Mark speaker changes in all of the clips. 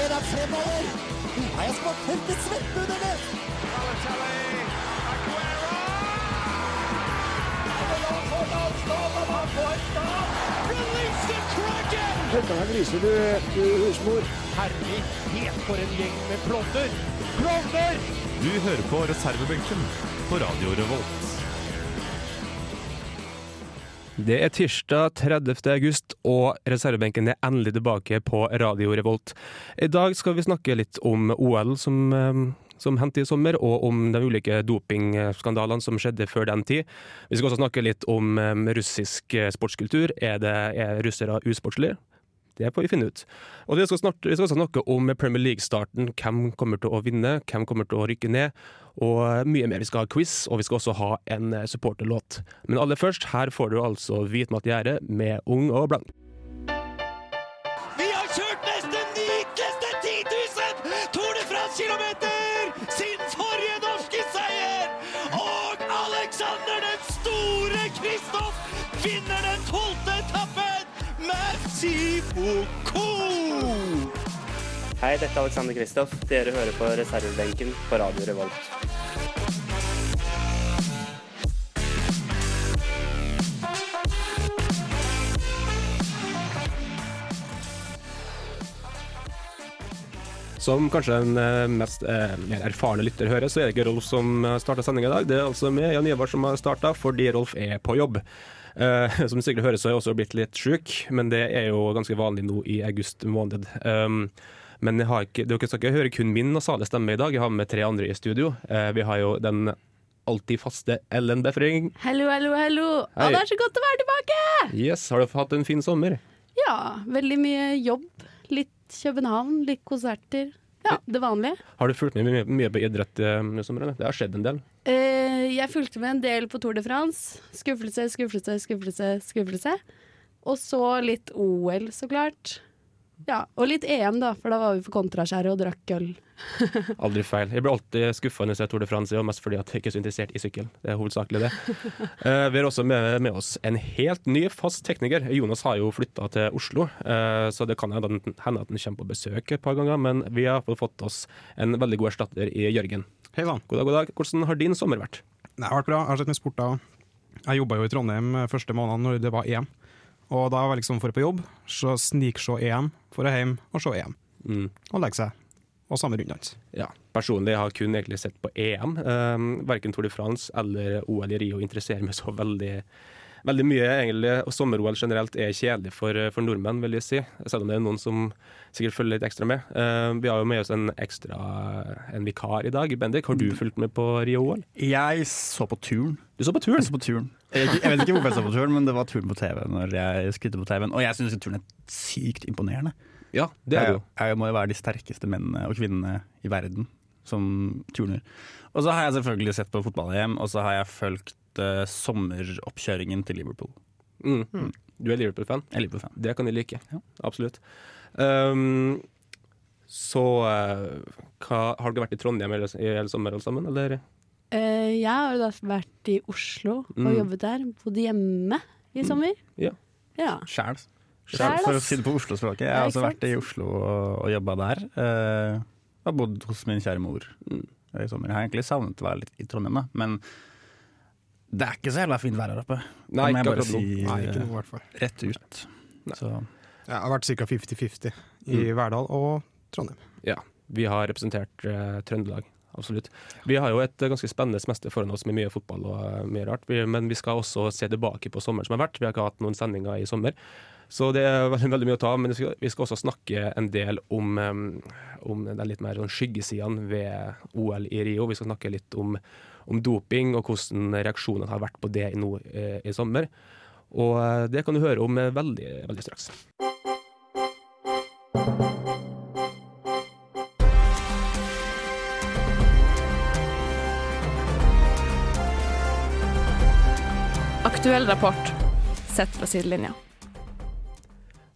Speaker 1: fremover. Nei, jeg skal tørke svetten under det.
Speaker 2: Dette er griser, du, du husmor.
Speaker 3: Herlighet for en gjeng med klovner! Klovner!
Speaker 4: Du hører på reservebenken på Radio Revolt.
Speaker 5: Det er tirsdag 30. august, og reservebenken er endelig tilbake på Radio Revolt. I dag skal vi snakke litt om OL som, eh, som hendte i sommer, og om de ulike dopingskandalene som skjedde før den tid. Vi skal også snakke litt om eh, russisk eh, sportskultur. Er, det, er russere usportslige? Det får vi finne ut. Og vi skal, snart, vi skal også snakke om Premier League-starten. Hvem kommer til å vinne, hvem kommer til å rykke ned, og mye mer. Vi skal ha quiz, og vi skal også ha en eh, supporterlåt. Men aller først, her får du altså Hvit Matt Gjerde med Ung og Blank.
Speaker 6: Vi har kjørt nesten likeste 10 000 Tour de France-kilometer siden forrige norske seier! Og Alexander den store Kristoff vinner den tolvte etappen! Merci beaucoup!
Speaker 7: Hei, dette er Alexander Kristoff. Dere hører på reservebenken på Radio Revolt.
Speaker 5: Som kanskje den eh, mest eh, mer erfarne lytter hører, så er det ikke Rolf som starta sendinga i dag. Det er altså meg, Jan Ivar, som har starta, fordi Rolf er på jobb. Eh, som du sikkert hører, så er jeg også blitt litt sjuk, men det er jo ganske vanlig nå i august måned. Um, men jeg har ikke, dere skal ikke høre kun min og Sales stemme i dag, jeg har med tre andre i studio. Eh, vi har jo den alltid faste Ellen Befring.
Speaker 8: Hallo, hallo, hallo. Å,
Speaker 5: Hei.
Speaker 8: det er så godt å være tilbake!
Speaker 5: Yes, har du hatt en fin sommer?
Speaker 8: Ja, veldig mye jobb. Litt København, litt konserter. Ja, det vanlige.
Speaker 5: Har du fulgt med mye, mye på idrett eh, i sommer? eller? Det har skjedd en del.
Speaker 8: Eh, jeg fulgte med en del på Tour de France. Skuffelse, skuffelse, skuffelse, skuffelse. Og så litt OL, så klart. Ja, Og litt EM, da, for da var vi på kontraskjæret og drakk øl.
Speaker 5: Aldri feil. Jeg blir alltid skuffa når jeg ser Tour de France, og mest fordi at jeg ikke er så interessert i sykkel. Det er hovedsakelig det. Eh, vi har også med, med oss en helt ny fast tekniker. Jonas har jo flytta til Oslo, eh, så det kan hende at den- hende at han kommer på besøk et par ganger. Men vi har fått- fått oss en veldig god erstatter i Jørgen.
Speaker 9: Hei sann.
Speaker 5: God dag, god dag. Hvordan har din sommer vært?
Speaker 9: Det har vært bra. Jeg har sett mye sport da. Jeg jobba jo i Trondheim eh, første måneden når det var EM. Og da var jeg liksom for på jobb, så snikse EM, for hjem og se EM.
Speaker 5: Mm.
Speaker 9: Og legge seg. Og samme runddans.
Speaker 5: Ja, personlig jeg har kun egentlig sett på EM. Um, verken Tour de France eller OL i Rio interesserer meg så veldig Veldig mye, egentlig. Og sommer-OL generelt er kjedelig for, for nordmenn, vil jeg si. Selv om det er noen som sikkert følger litt ekstra med. Eh, vi har jo med oss en ekstra En vikar i dag. Bendik, har du fulgt med på Rio-OL?
Speaker 10: Jeg så på turen.
Speaker 5: Mm. Du så på
Speaker 10: Jeg,
Speaker 5: turen!
Speaker 10: så på turen. Jeg, jeg vet ikke hvorfor jeg så på turen, men det var turen på TV når jeg skrudde på TV-en. Og jeg syns turen er sykt imponerende.
Speaker 5: Ja, det er det
Speaker 10: jeg,
Speaker 5: jo.
Speaker 10: jeg må jo være de sterkeste mennene og kvinnene i verden som turner. Og så har jeg selvfølgelig sett på fotball-EM, og så har jeg fulgt eh, sommeroppkjøringen til Liverpool.
Speaker 5: Mm. Du er Liverpool-fan?
Speaker 10: Jeg er Liverpool-fan.
Speaker 5: Det kan jeg like.
Speaker 10: Ja.
Speaker 5: Absolutt. Um, så eh, hva, Har dere vært i Trondheim hele, hele sommer alle sammen, eller?
Speaker 8: Eh, jeg har jo da vært i Oslo og
Speaker 5: Mm.
Speaker 8: jobbet der. Bodd hjemme i sommer.
Speaker 5: Ja.
Speaker 8: ja.
Speaker 10: Sjæl.
Speaker 8: Sjæl,
Speaker 10: For å
Speaker 8: ass.
Speaker 10: si det på Oslo-språket. Jeg
Speaker 8: Ja,
Speaker 10: har
Speaker 8: ikke
Speaker 10: også
Speaker 8: sant?
Speaker 10: vært i Oslo og, og jobba der. eh, og bodd hos min kjære mor eh, i sommer. Jeg har egentlig savnet å være litt i Trondheim, da. Men det er ikke så jævla fint vær her oppe. Det
Speaker 5: Nei,
Speaker 10: må jeg
Speaker 5: ikke
Speaker 10: bare
Speaker 5: akkurat nå.
Speaker 10: si
Speaker 9: Nei, ikke
Speaker 10: eh,
Speaker 9: noe i hvert fall.
Speaker 10: rett ut. Så
Speaker 9: Jeg har vært ca. 50-50 i Verdal og Trondheim.
Speaker 5: Ja, vi har representert eh, Trøndelag. Absolutt. Vi har jo et eh, ganske spennende semester foran oss med mye fotball og eh, mye rart. Vi, men vi skal også se tilbake på sommeren som har vært. Vi har ikke hatt noen sendinger i sommer. Så det er veldig, veldig mye å ta av. Men vi skal, vi skal også snakke en del om, eh, om den litt mer sånn skyggesidene ved OL i Rio. Vi skal snakke litt om, om doping og hvordan reaksjonene har vært på det nå eh, i sommer. Og eh, det kan du høre om eh, veldig, veldig straks.
Speaker 11: Aktuell rapport sett fra sidelinja.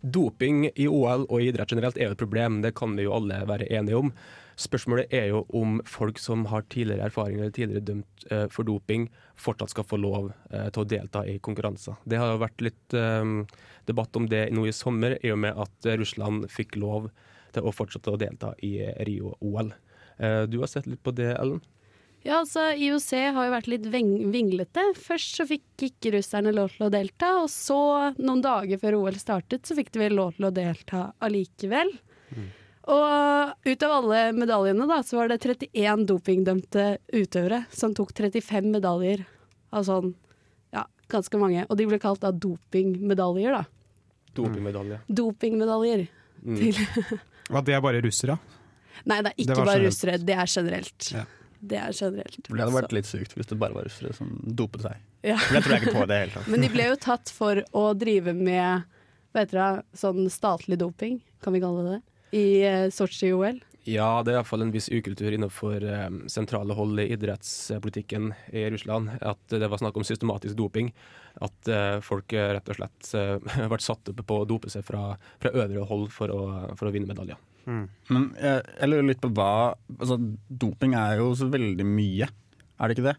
Speaker 5: Doping i OL og i idrett generelt er jo et problem, det kan vi jo alle være enige om. Spørsmålet er jo om folk som har tidligere erfaring eller tidligere dømt eh, for doping, fortsatt skal få lov eh, til å delta i konkurranser. Det har jo vært litt eh, debatt om det nå i sommer, i og med at eh, Russland fikk lov til å fortsette å delta i Rio-OL. Eh, Du har sett litt på det, Ellen?
Speaker 8: Ja, altså IOC har jo vært litt veng- vinglete. Først så fikk ikke russerne lov til å delta, og så, noen dager før OL startet, så fikk de vel lov til å delta allikevel. Og ut av alle medaljene da, så var det 31 dopingdømte utøvere som tok 35 medaljer av sånn, ja, ganske mange. Og de ble kalt da dopingmedaljer da.
Speaker 5: Dopingmedalje.
Speaker 8: Dopingmedaljer.
Speaker 9: Mm.
Speaker 8: Til.
Speaker 9: Og at det er bare russere.
Speaker 8: Nei, det er
Speaker 9: Det
Speaker 8: ikke
Speaker 9: var
Speaker 8: bare
Speaker 9: generelt.
Speaker 8: russere, det er generelt.
Speaker 9: Ja.
Speaker 8: Det er generelt.
Speaker 10: For Det hadde vært litt sykt hvis det bare var russere som dopet seg.
Speaker 8: Ja.
Speaker 10: For det tror jeg ikke på i det hele tatt.
Speaker 8: Men de ble jo tatt for å drive med vet dere, sånn statlig doping, kan vi kalle det det, i eh, Sotsji-OL.
Speaker 5: Ja, det er iallfall en viss ukultur innenfor eh, sentrale hold i idrettspolitikken i Russland. At det var snakk om systematisk doping. At eh, folk eh, rett og slett eh, ble satt opp på å dope seg fra, fra øvre hold for å, for å vinne medaljer.
Speaker 10: Men jeg, jeg lurer litt på hva altså, Doping er jo så veldig mye, er det ikke det?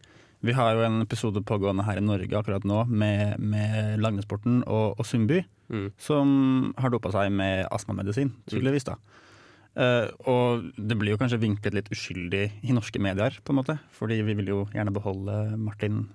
Speaker 10: Vi har jo en episode pågående her i Norge akkurat nå med, med langrennssporten og, og Sundby, som har dopa seg med astmamedisin, tydeligvis. da. Eh, og det blir jo kanskje vinklet litt uskyldig i norske medier, på en måte. Fordi vi vil jo gjerne beholde Martin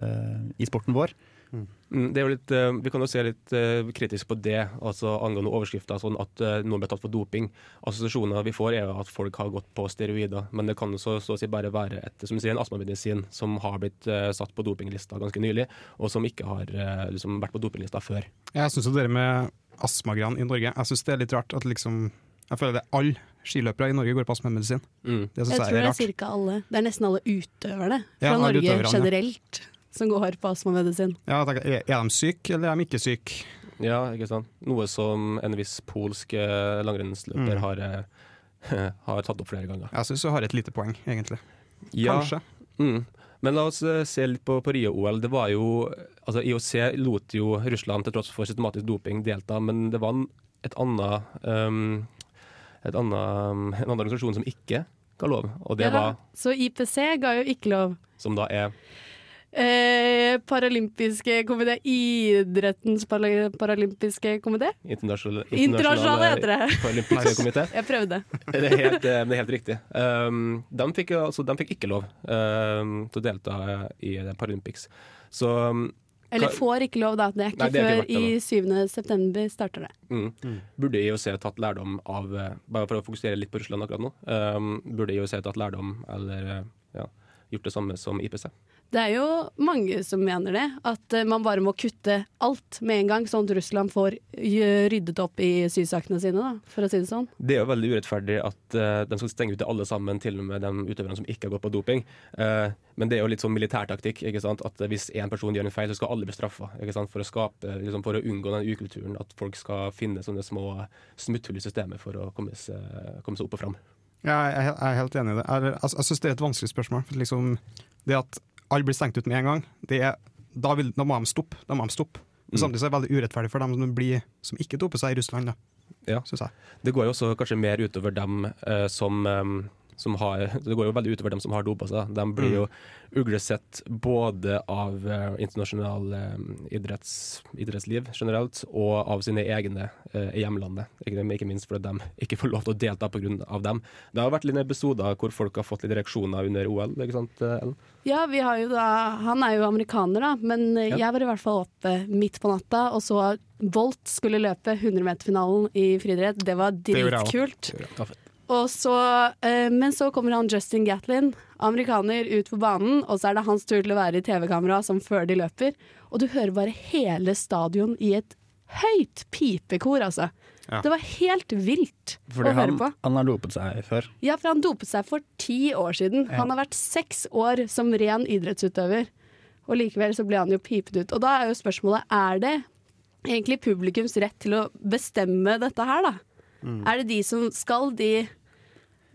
Speaker 10: eh, i sporten vår.
Speaker 5: Mm, Det er jo litt, eh, vi kan jo se litt eh, kritisk på det, altså angående overskrifter, sånn at eh, noen ble tatt for doping. Assosiasjoner vi får, er jo at folk har gått på steroider, men det kan jo så, så å si bare være et, som du sier, en astmamedisin som har blitt eh, satt på dopinglista ganske nylig, og som ikke har eh, liksom, vært på dopinglista før.
Speaker 9: Jeg syns jo dere med astmagran i Norge Jeg synes det er litt rart at liksom Jeg føler det er alle skiløpere i Norge går på astmamedisin.
Speaker 5: Mm,
Speaker 9: Det
Speaker 8: Jeg
Speaker 9: syns
Speaker 8: tror
Speaker 9: jeg er
Speaker 8: det er
Speaker 9: rart.
Speaker 8: cirka alle. Det er nesten alle utøverne fra
Speaker 9: Ja, alle
Speaker 8: Norge
Speaker 9: utøverne, ja.
Speaker 8: generelt som går på astmamedisin.
Speaker 9: Ja, tenker, jeg, er de syke, eller er de ikke syke?
Speaker 5: Ja, ikke sant? Noe som en viss polsk eh, langrennsløper
Speaker 9: Mm.
Speaker 5: har, eh, har tatt opp flere ganger.
Speaker 9: Jeg syns du har et lite poeng, egentlig.
Speaker 5: Ja.
Speaker 9: Kanskje.
Speaker 5: Mm. Men la oss eh, se litt på, på Rio-OL. Det var jo, altså IOC lot jo Russland, til tross for systematisk doping, delta, men det var en, et annet, um, et annet, um, en annen organisasjon som ikke ga lov, og det
Speaker 8: Ja,
Speaker 5: var,
Speaker 8: Så IPC ga jo ikke lov.
Speaker 5: som da er
Speaker 8: Eh, paralympiske komité, idrettens para- paralympiske komité?
Speaker 5: Internasjonale,
Speaker 8: Internasjonale heter det.
Speaker 5: Paralympiske eh, komité.
Speaker 8: Jeg prøvde.
Speaker 5: Det er helt, eh, det er helt riktig. Um, de, fikk, altså, de fikk ikke lov um, til å delta i Paralympics. Så um,
Speaker 8: Eller
Speaker 5: hva-
Speaker 8: får ikke lov, da. Det er ikke
Speaker 5: Nei, det er ikke
Speaker 8: før i 7. september starter det.
Speaker 5: Mm. Burde IOC tatt lærdom av eh, Bare for å fokusere litt på Russland akkurat nå. ehm, burde IOC tatt lærdom eller eh, ja, gjort det samme som IPC?
Speaker 8: Det er jo mange som mener det, at eh, man bare må kutte alt med en gang, sånn at Russland får gjø- ryddet opp i sysakene sine, da, for å si det sånn.
Speaker 5: Det er jo veldig urettferdig at eh, de skal stenge ute alle sammen, til og med de utøverne som ikke har gått på doping. Eh, men det er jo litt sånn militærtaktikk. ikke sant? At eh, Hvis én person gjør en feil, så skal alle bli straffa. ikke sant? For å skape, liksom, for å unngå den ukulturen at folk skal finne sånne små smutthull i systemet for å komme seg, komme seg opp og fram.
Speaker 9: Ja, jeg, er helt- jeg er helt enig i det. Jeg, jeg, jeg syns det er et vanskelig spørsmål. For liksom, det at alle blir stengt ut med en gang, det er, da, vil, da må de stoppe. Da må de stoppe. Men
Speaker 5: Mm.
Speaker 9: samtidig så er det veldig urettferdig for dem som, blir, som ikke doper seg i Russland, da,
Speaker 5: Ja.
Speaker 9: syns jeg.
Speaker 5: Det går jo også kanskje mer utover dem eh, som, eh, som har Det går jo veldig utover dem som har dopa seg. De
Speaker 8: Mm.
Speaker 5: blir jo uglesett både av eh, internasjonal eh, idretts, idrettsliv generelt, og av sine egne eh, i hjemlandet. Ikke, ikke minst fordi de ikke får lov til å delta pga. dem. Det har vært litt episoder hvor folk har fått litt reaksjoner under OL, ikke sant, Ellen?
Speaker 8: Ja, vi har jo da Han er jo amerikaner, da, men eh,
Speaker 5: Ja.
Speaker 8: jeg var i hvert fall oppe midt på natta og så Bolt skulle løpe 100-meterfinalen i friidrett. Det var
Speaker 9: gjorde jeg
Speaker 8: dritkult. Og så, eh, men så kommer han Justin Gatlin, amerikaner, ut på banen, og så er det hans tur til å være i TV-kamera som før de løper. Og du hører bare hele stadion i et høyt pipekor, altså.
Speaker 10: Ja.
Speaker 8: Det var helt vilt
Speaker 10: Fordi
Speaker 8: å høre
Speaker 10: han,
Speaker 8: på.
Speaker 10: han har dopet seg før.
Speaker 8: Ja, for han dopet seg for ti år siden.
Speaker 10: Ja.
Speaker 8: Han har vært seks år som ren idrettsutøver. Og likevel så ble han jo pipet ut. Og da er jo spørsmålet, er det egentlig publikums rett til å bestemme dette her, da?
Speaker 10: Mm.
Speaker 8: Er det de som skal de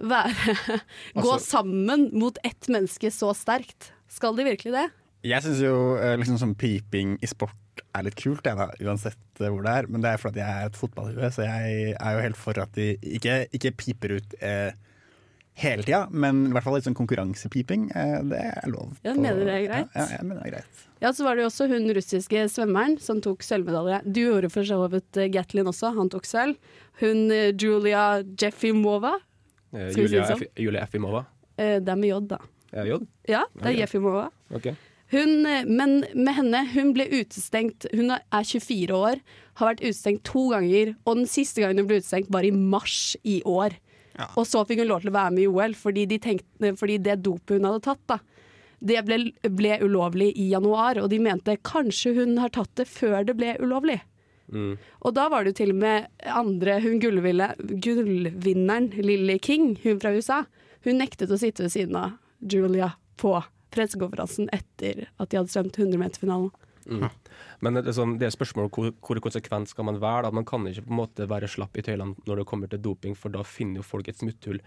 Speaker 8: være Gå
Speaker 10: Altså-
Speaker 8: sammen mot ett menneske så sterkt? Skal de virkelig det?
Speaker 10: Jeg syns jo eh, liksom sånn piping i sport er litt kult, jeg da, uansett eh, hvor det er. Men det er fordi jeg er et fotballhue, så jeg er jo helt for at de ikke, ikke piper ut eh, hele tida, men i hvert fall litt sånn konkurransepiping, eh, det er lov.
Speaker 8: Ja,
Speaker 10: på-
Speaker 8: mener det er greit.
Speaker 10: Ja, ja, jeg mener det er greit.
Speaker 8: Ja, så var det jo også hun russiske svømmeren som tok sølvmedalje. Du gjorde for så vidt eh, Gatlin også, han tok sølv. Hun eh, Julia Jeffimova.
Speaker 5: Eh,
Speaker 8: Skal vi si
Speaker 5: Julia,
Speaker 8: det sånn?
Speaker 5: Efi- Julia Efimova.
Speaker 8: Eh, Det er med J, da.
Speaker 5: Eh, J?
Speaker 8: Ja, det er
Speaker 5: Ok.
Speaker 8: Jeffimova.
Speaker 5: Ok.
Speaker 8: Hun, eh, men med henne, hun ble utestengt. Hun er 24 år, har vært utestengt to ganger. Og den siste gangen hun ble utestengt, var i mars i år. Og så fikk hun lov til å være med i OL, fordi, de tenkte, fordi det dopet hun hadde tatt, da, det ble, ble ulovlig i januar. Og de mente kanskje hun har tatt det før det ble ulovlig.
Speaker 5: Mm.
Speaker 8: Og da var det jo til og med andre, hun gullville- gullvinneren Lilly King, hun fra USA, hun nektet å sitte ved siden av Julia på pressekonferansen etter at de hadde svømt 100-meterfinalen.
Speaker 5: Mm. Men det er, sånn, det er spørsmål hvor, hvor konsekvent skal man være. Da. Man kan ikke på en måte være slapp i tøylene når det kommer til doping, for da finner jo folk et smutthull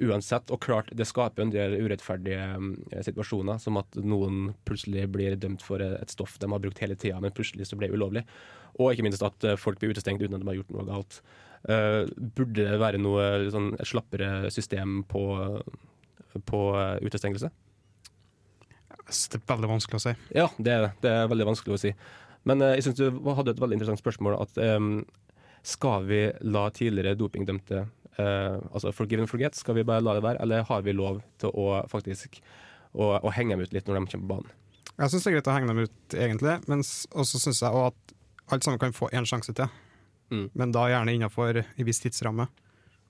Speaker 5: uansett. Og klart, det skaper jo en del urettferdige mm, situasjoner, som at noen plutselig blir dømt for et stoff de har brukt hele tida, men plutselig så ble det ulovlig. Og ikke minst at eh, folk blir utestengt uten at de har gjort noe galt. Eh, burde det være noe sånn, et slappere system på, på eh, utestengelse?
Speaker 9: Det er veldig vanskelig å si.
Speaker 5: Ja, det er det. Det er veldig vanskelig å si. Men eh, jeg syns du hadde et veldig interessant spørsmål. At em, skal vi la tidligere dopingdømte eh, Altså forgive and forget, skal vi bare la det være? Eller har vi lov til å faktisk å, å henge dem ut litt når de kommer på banen?
Speaker 9: Jeg syns det er greit å henge dem ut, egentlig, men s- også syns jeg også at alt sammen kan få én sjanse til.
Speaker 5: Mm.
Speaker 9: Men da gjerne innenfor en viss tidsramme.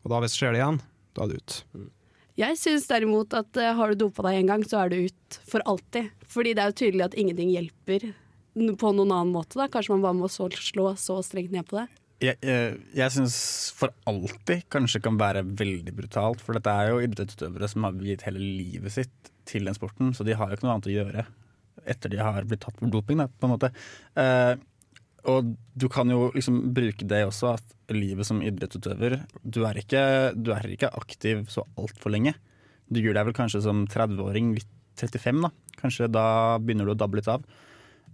Speaker 9: Og da hvis det skjer det igjen, da er det ut.
Speaker 8: Jeg syns derimot at eh, har du dopa deg én gang, så er du ut for alltid. Fordi det er jo tydelig at ingenting hjelper n- på noen annen måte. da. Kanskje man bare må så, slå så strengt ned på det.
Speaker 10: Jeg, jeg, jeg syns for alltid kanskje kan være veldig brutalt. For dette er jo idrettsutøvere som har viet hele livet sitt til den sporten, så de har jo ikke noe annet å gjøre etter de har blitt tatt for doping, da, på en måte. Eh, og du kan jo liksom bruke det også, at livet som idrettsutøver Du er ikke, du er ikke aktiv så altfor lenge. Du gjør deg vel kanskje som 30-åring, litt 35, da. Kanskje da begynner du å dabbe litt av.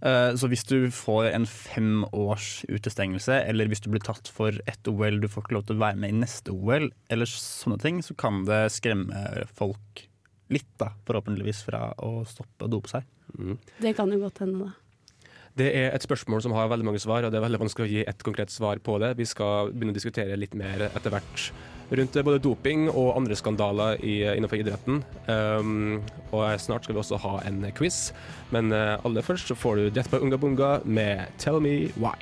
Speaker 10: Eh, Så hvis du får en fem års utestengelse, eller hvis du blir tatt for ett OL, du får ikke lov til å være med i neste OL, eller sånne ting, så kan det skremme folk litt, da, forhåpentligvis, fra å stoppe å dope seg.
Speaker 8: Det kan jo godt hende, da.
Speaker 5: Det er et spørsmål som har veldig mange svar, og det er veldig vanskelig å gi ett konkret svar på det. Vi skal begynne å diskutere litt mer etter hvert rundt både doping og andre skandaler i, innenfor idretten. Um, og snart skal vi også ha en quiz, men eh, aller først så får du Death by Unga Bunga med Tell Me Why.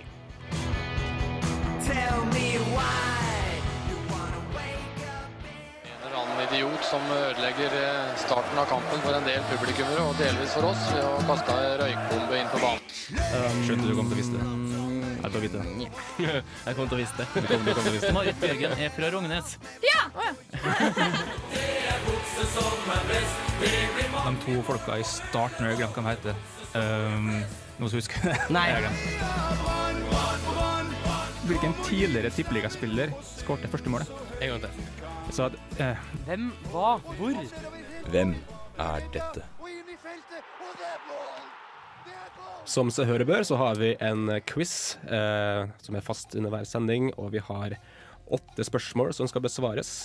Speaker 6: Tell me why.
Speaker 12: mener han en idiot som ødelegger eh, starten av kampen for en del publikummere, og delvis for oss, ved å kaste ei røykbombe inn på banen.
Speaker 13: Skjønte du kom til å vise det. Jeg kom til å vite det. Mm, Jeg kom til å vise det. Du kom, du kom til å vise det.
Speaker 14: Marit Bjørgen er fra Rognes.
Speaker 6: Ja! Nei,
Speaker 14: De to folka i starten, jeg glemte hva de heter. Um, noen som husker det? Jeg har glemt. Hvilken tidligere tippeligaspiller skåret første målet? En gang til. Så at, eh,
Speaker 15: Hvem, hva, hvor?
Speaker 14: Hvem er dette?
Speaker 5: Som seg høre bør, så har vi en quiz eh, som er fast under hver sending, og vi har åtte spørsmål som skal besvares.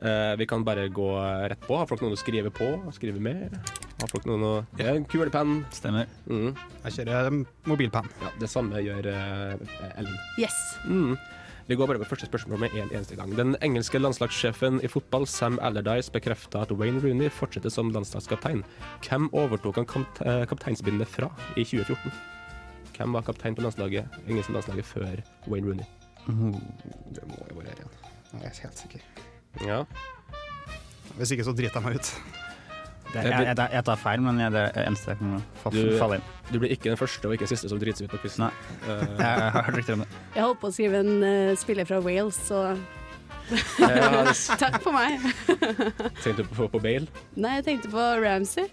Speaker 5: Eh, vi kan bare gå rett på. Har folk noen å skrive på? Skrive med? Har folk noen å ja, En kulepenn.
Speaker 10: Stemmer.
Speaker 5: Mm.
Speaker 9: Jeg kjører um, mobilpenn.
Speaker 5: Ja, det samme gjør eh, Ellen.
Speaker 8: Yes.
Speaker 5: Mm. Vi går bare på første spørsmål med en eneste gang. Den engelske landslagssjefen i fotball, Sam Allardyce, bekrefta at Wayne Rooney fortsetter som landslagskaptein. Hvem overtok han kapt eh, kapteinsbindet fra i 2014? Hvem var kaptein på landslaget, engelske landslaget før Wayne Rooney? Det må jo være en.
Speaker 9: Mm. Jeg er helt sikker.
Speaker 5: Ja.
Speaker 9: Hvis ikke så driter jeg meg ut.
Speaker 10: Det, jeg, jeg, jeg tar feil, men jeg, det er det eneste jeg kan fa-
Speaker 5: Du,
Speaker 10: falle inn.
Speaker 5: du blir ikke den første og ikke den siste som driter seg ut på quizen. Eh,
Speaker 10: Jeg jeg har hørt rykter om det.
Speaker 8: Jeg holdt på å skrive en eh, spiller fra Wales, så
Speaker 5: Ja, det s-
Speaker 8: Takk for meg.
Speaker 5: Tenkte du på, på Bale?
Speaker 8: Nei, jeg tenkte på Ramsey.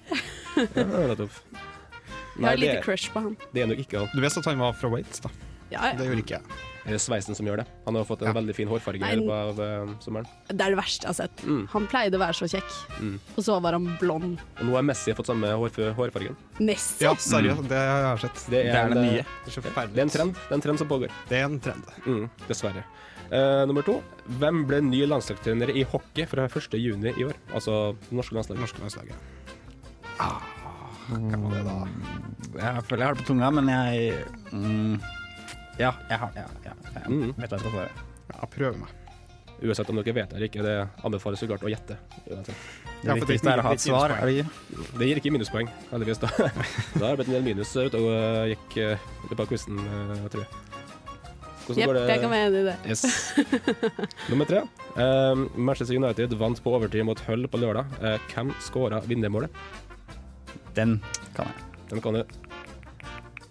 Speaker 5: Ja, nettopp.
Speaker 8: Jeg har et lite crush på han.
Speaker 5: Det er nok ikke han.
Speaker 9: Du vet at han var fra Waits, da.
Speaker 8: Ja, ja.
Speaker 9: Det gjorde ikke jeg.
Speaker 5: eh, sveisen som gjør det. Han har fått en veldig fin hårfarge i
Speaker 8: Nei,
Speaker 5: løpet av eh, sommeren.
Speaker 8: Det er det verste jeg har sett.
Speaker 5: Mm.
Speaker 8: Han pleide å være så kjekk,
Speaker 5: Mm.
Speaker 8: og så var han blond.
Speaker 5: Og nå har Messi fått samme hårf hårfargen.
Speaker 8: Messi!
Speaker 9: Ja, seriøst, det har jeg sett.
Speaker 5: Det
Speaker 9: det
Speaker 5: er, en,
Speaker 9: nye.
Speaker 5: eh, Det er en trend. Det er en trend som pågår.
Speaker 9: Det er en trend.
Speaker 5: Mm, dessverre. Eh, nummer to. Hvem ble ny landslagstrener i hockey fra 1. juni i år? Altså det norske landslaget.
Speaker 9: Norske landslaget. Ah,
Speaker 10: Hvem var det, da? Jeg føler jeg har det på tunga, men jeg mm, Ja, jeg har ja, ja, jeg vet hva jeg skal svare.
Speaker 9: Ja, prøv meg.
Speaker 5: Uansett om dere vet det eller ikke, det anbefales så klart å gjette. Uansett.
Speaker 10: Ja, for det er ikke- det er ikke minuspoeng.
Speaker 5: ikke? Det gir ikke minuspoeng, heldigvis. Da Da har det blitt en del minus ute og øh, gikk øh, i løpet av quizen, eh, tror jeg.
Speaker 8: Jepp, jeg kan være enig i det.
Speaker 5: Yes. Nummer tre. Um, Manchester United vant på overtid mot Hull på lørdag. Eh, hvem skåra vinnermålet?
Speaker 10: Den kan jeg.
Speaker 5: Den kan du.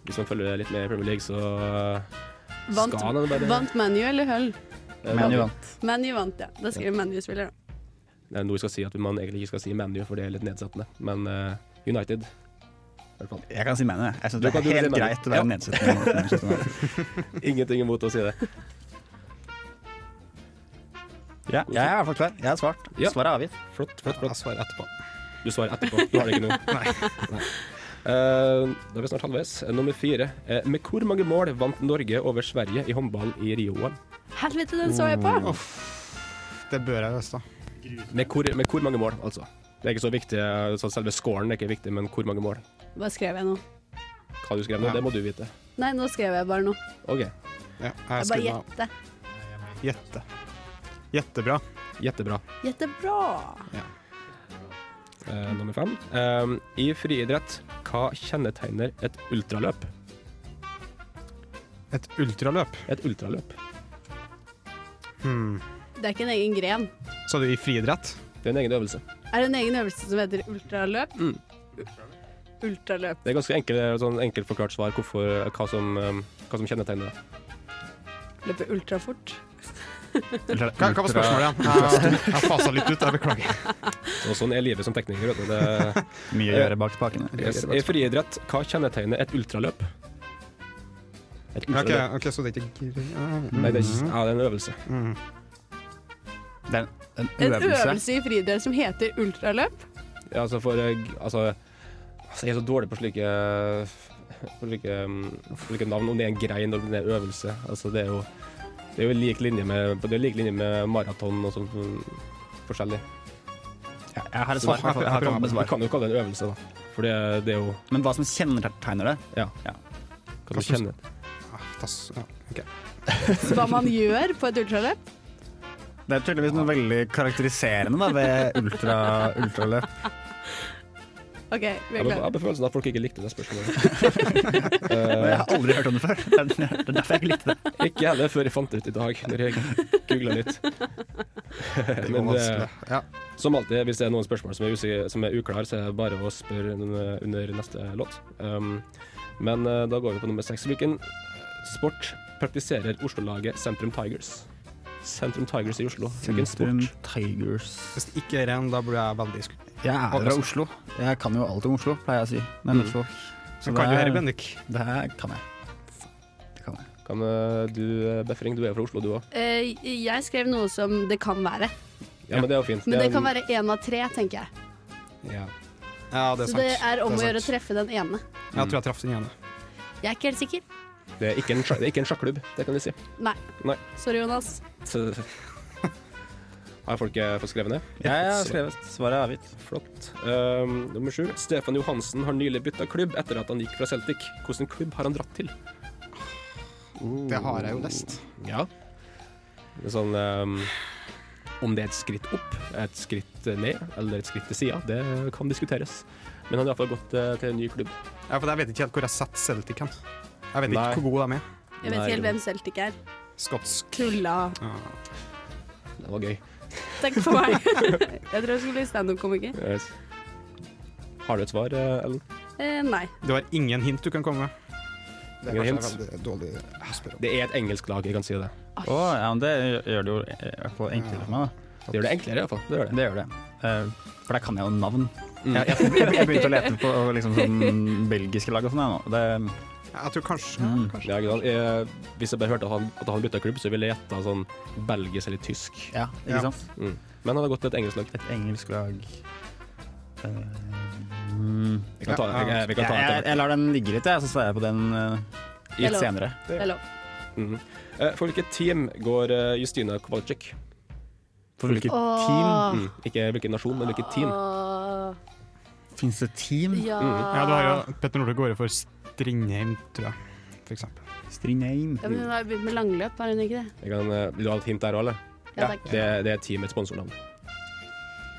Speaker 5: Hvis man følger litt med i Premier League, så øh,
Speaker 8: Vant,
Speaker 5: skal han bare
Speaker 8: vant ManU eller Hull?
Speaker 5: Eh, ManU vant.
Speaker 8: ManU vant, ja. Da skriver ManU-spiller, da.
Speaker 5: Det er noe jeg skal si at man egentlig ikke skal si ManU, for det er litt nedsettende. Men eh, United i hvert fall.
Speaker 10: Jeg kan si ManU. Jeg syns
Speaker 5: Du
Speaker 10: det
Speaker 5: kan-
Speaker 10: er
Speaker 5: du kan si
Speaker 10: helt
Speaker 5: ManU.
Speaker 10: greit å være
Speaker 5: Ja.
Speaker 10: nedsettende mot Manchester
Speaker 5: Ingenting imot å si det.
Speaker 10: Ja, jeg er i hvert fall klar. Jeg har svart. Svaret er avgitt.
Speaker 5: Flott, flott, flott.
Speaker 9: Jeg svarer etterpå.
Speaker 5: Du svarer etterpå. Du har det ikke nå. Nei. Eh, da er vi snart halvveis. Nummer fire. Eh, med hvor mange mål vant Norge over Sverige i håndball i Rio-OL?
Speaker 8: Helvete, den så jeg på!
Speaker 5: Mm.
Speaker 9: Det bør jeg visst, da.
Speaker 5: Med, hvor- med hvor mange mål, altså. Det er ikke så viktig, eh, så selve scoren er ikke viktig, men hvor mange mål.
Speaker 8: Hva skrev jeg nå?
Speaker 5: Hva du skrev nå, det må du vite.
Speaker 8: Nei, nå skrev jeg bare noe.
Speaker 5: OK.
Speaker 8: Jeg bare gjette.
Speaker 9: Gjette. Jettebra.
Speaker 5: Jettebra.
Speaker 8: Gjette bra!
Speaker 5: Eh, nummer fem. Eh, I friidrett, hva kjennetegner et ultraløp?
Speaker 9: Et ultraløp?
Speaker 5: Et ultraløp.
Speaker 9: Hmm.
Speaker 8: Det er ikke en egen gren.
Speaker 9: Sa du i friidrett?
Speaker 5: Det er en egen øvelse.
Speaker 8: Er det en egen øvelse som heter ultraløp?
Speaker 5: Mm.
Speaker 8: Ultraløp.
Speaker 5: Det er ganske enkel, sånn enkelt forklart svar hvorfor, hva, som, eh, hva som kjennetegner det.
Speaker 8: Løpe ultrafort.
Speaker 5: Ultra-
Speaker 9: Hva, hva var spørsmålet igjen? Jeg, jeg fasa litt ut, jeg beklager.
Speaker 5: Og sånn er livet som tekniker. Vet du. Det,
Speaker 10: Mye å gjøre bak spakene.
Speaker 5: Yes. I friidrett, hva kjennetegner et ultraløp? Et
Speaker 9: Ok,
Speaker 5: ultraløp.
Speaker 9: ok, så det er ikke Hmm.
Speaker 5: Nei, det er,
Speaker 9: Mhm.
Speaker 5: ikke- ja, det er en øvelse.
Speaker 10: Det er en,
Speaker 8: En øvelse i friidrett som heter ultraløp?
Speaker 5: Ja, altså for eh, g- altså, altså, Jeg er så dårlig på slike på slike, um, slike navn. Om det er en grein eller om det er en øvelse. Altså, det er jo det er jo lik linje med på- Det er lik linje med maraton og sånn mm, forskjellig.
Speaker 10: Jeg har et
Speaker 5: Så
Speaker 10: svar.
Speaker 5: da-
Speaker 10: Jeg har kommet med
Speaker 5: Vi
Speaker 10: svar.
Speaker 5: kan jo kalle det en øvelse, da. For det, det er jo
Speaker 10: Men hva som kjennetegner det?
Speaker 5: Ja. Hva som kjenner
Speaker 9: Ah,
Speaker 8: Hva man gjør på et ultraløp?
Speaker 10: Det er tydeligvis noe veldig karakteriserende da, ved ultra, ultraløp.
Speaker 8: OK, vi
Speaker 5: Jeg
Speaker 8: er
Speaker 5: har jeg
Speaker 8: klare.
Speaker 5: har på følelsen at folk ikke likte det spørsmålet.
Speaker 10: Men jeg har aldri hørt om det før. Det er- Det er derfor jeg ikke likte det.
Speaker 5: Eh, ikke heller før jeg fant det ut i dag, når jeg googla litt.
Speaker 9: Det
Speaker 5: Men
Speaker 9: var
Speaker 5: det-
Speaker 9: vanskelig. Ja.
Speaker 5: Som alltid, hvis det er noen spørsmål som er, usik- som er uklar, så er det bare å spørre un- under neste låt. Um, men eh, da går vi på nummer seks. Hvilken sport praktiserer Oslo-laget Sentrum Tigers? Sentrum Tigers i Oslo. Hvilken
Speaker 10: Sentrum
Speaker 5: sport?
Speaker 10: Tigers.
Speaker 9: Hvis det ikke er ren, da blir jeg veldig skuffet.
Speaker 10: Jeg er fra Oslo. Jeg kan jo alt om Oslo, pleier jeg å si. Men
Speaker 5: Mm.
Speaker 10: Oslo. Så
Speaker 9: Men kan du
Speaker 10: det
Speaker 9: her,
Speaker 10: er-
Speaker 9: Bendik?
Speaker 10: Det her kan jeg. Det kan jeg.
Speaker 5: Kan eh, du eh, Befring, du er jo fra Oslo, du òg.
Speaker 8: Eh, jeg skrev noe som det kan være.
Speaker 5: Ja, men det er jo fint.
Speaker 8: Men
Speaker 5: er
Speaker 8: det
Speaker 5: jo-
Speaker 8: kan være én av tre, tenker jeg.
Speaker 9: Ja. ja, det er sant.
Speaker 8: Så det er om å gjøre å
Speaker 9: sant.
Speaker 8: treffe den ene.
Speaker 9: Jeg tror jeg traff den ene.
Speaker 8: Jeg er ikke helt sikker.
Speaker 5: Det er ikke en, sjakk- det er ikke en sjakklubb, det kan vi si.
Speaker 8: Nei.
Speaker 5: Nei.
Speaker 8: Sorry, Jonas.
Speaker 5: Så, har folk eh, fått skrevet ned?
Speaker 10: Jeg har skrevet svaret er avgitt.
Speaker 5: Flott. Ehm, nummer sju. Stefan Johansen har nylig bytta klubb etter at han gikk fra Celtic. Hvilken klubb har han dratt til? Oh.
Speaker 9: Det har jeg jo lest.
Speaker 5: Ja. Det er sånn ehm, Om det er et skritt opp, et skritt ned eller et skritt til sida, det kan diskuteres. Men han har iallfall gått eh, til en ny klubb.
Speaker 9: Ja, for jeg vet ikke helt hvor jeg setter Celtic hen. Jeg vet ikke
Speaker 5: Nei.
Speaker 9: hvor gode de er.
Speaker 8: Jeg vet
Speaker 5: Nei,
Speaker 8: ikke helt hvem Celtic er.
Speaker 9: Skotsk.
Speaker 8: Tulla.
Speaker 9: Ja.
Speaker 5: Det var gøy.
Speaker 8: Takk for meg. Jeg tror jeg skulle bli standup-komiker.
Speaker 5: Yes. Har du et svar, eh, Ellen?
Speaker 8: Eh, nei.
Speaker 9: Du har ingen hint du kan komme med. Det er
Speaker 5: Ingen
Speaker 9: kanskje veldig dårlig å spørre om.
Speaker 5: Det er et engelsk lag, jeg kan si det.
Speaker 10: Å, ja, men det gjør det jo eh, i hvert fall enklere for meg, da.
Speaker 5: Det gjør det enklere, iallfall. Det gjør det.
Speaker 10: Det gjør det. Eh, for der kan jeg jo navn.
Speaker 5: Mm.
Speaker 10: Jeg, jeg, jeg begynte å lete på liksom, sånn belgiske lag og sånn, jeg nå. Det, mm,
Speaker 9: Jeg tror kanskje, kanskje.
Speaker 5: Ja, ikke sant? Jeg, hvis jeg bare hørte at han, at han bytta klubb, så ville jeg gjetta sånn belgisk eller tysk.
Speaker 10: Ja, ikke sant?
Speaker 5: Mm. Men han hadde gått til et engelsk lag.
Speaker 10: Et engelsk lag Eh,
Speaker 5: Vi kan ta, jeg, jeg, vi kan ta
Speaker 10: jeg, jeg,
Speaker 5: etter
Speaker 10: jeg lar den ligge litt, jeg, så svarer jeg på den eh,
Speaker 5: Det er
Speaker 10: litt
Speaker 5: lov.
Speaker 10: senere.
Speaker 8: Det er lov.
Speaker 5: Mhm. Eh, For hvilket team går eh, Justina Kowalczyk?
Speaker 10: For hvilket
Speaker 8: Åh. team?
Speaker 5: Mm. Ikke hvilken nasjon, men hvilket team.
Speaker 8: Åh.
Speaker 10: Fins det team?
Speaker 8: Ja.
Speaker 9: Mm. Ja, du har jo Petter Northug går jo for Strindheim, tror jeg. For eksempel.
Speaker 10: Strindheim.
Speaker 8: Ja, men hun har jo begynt med langløp, har hun ikke det?
Speaker 5: Jeg kan, eh, vil du ha et hint der òg, eller?
Speaker 8: Ja, takk.
Speaker 5: Det, det er teamets sponsornavn.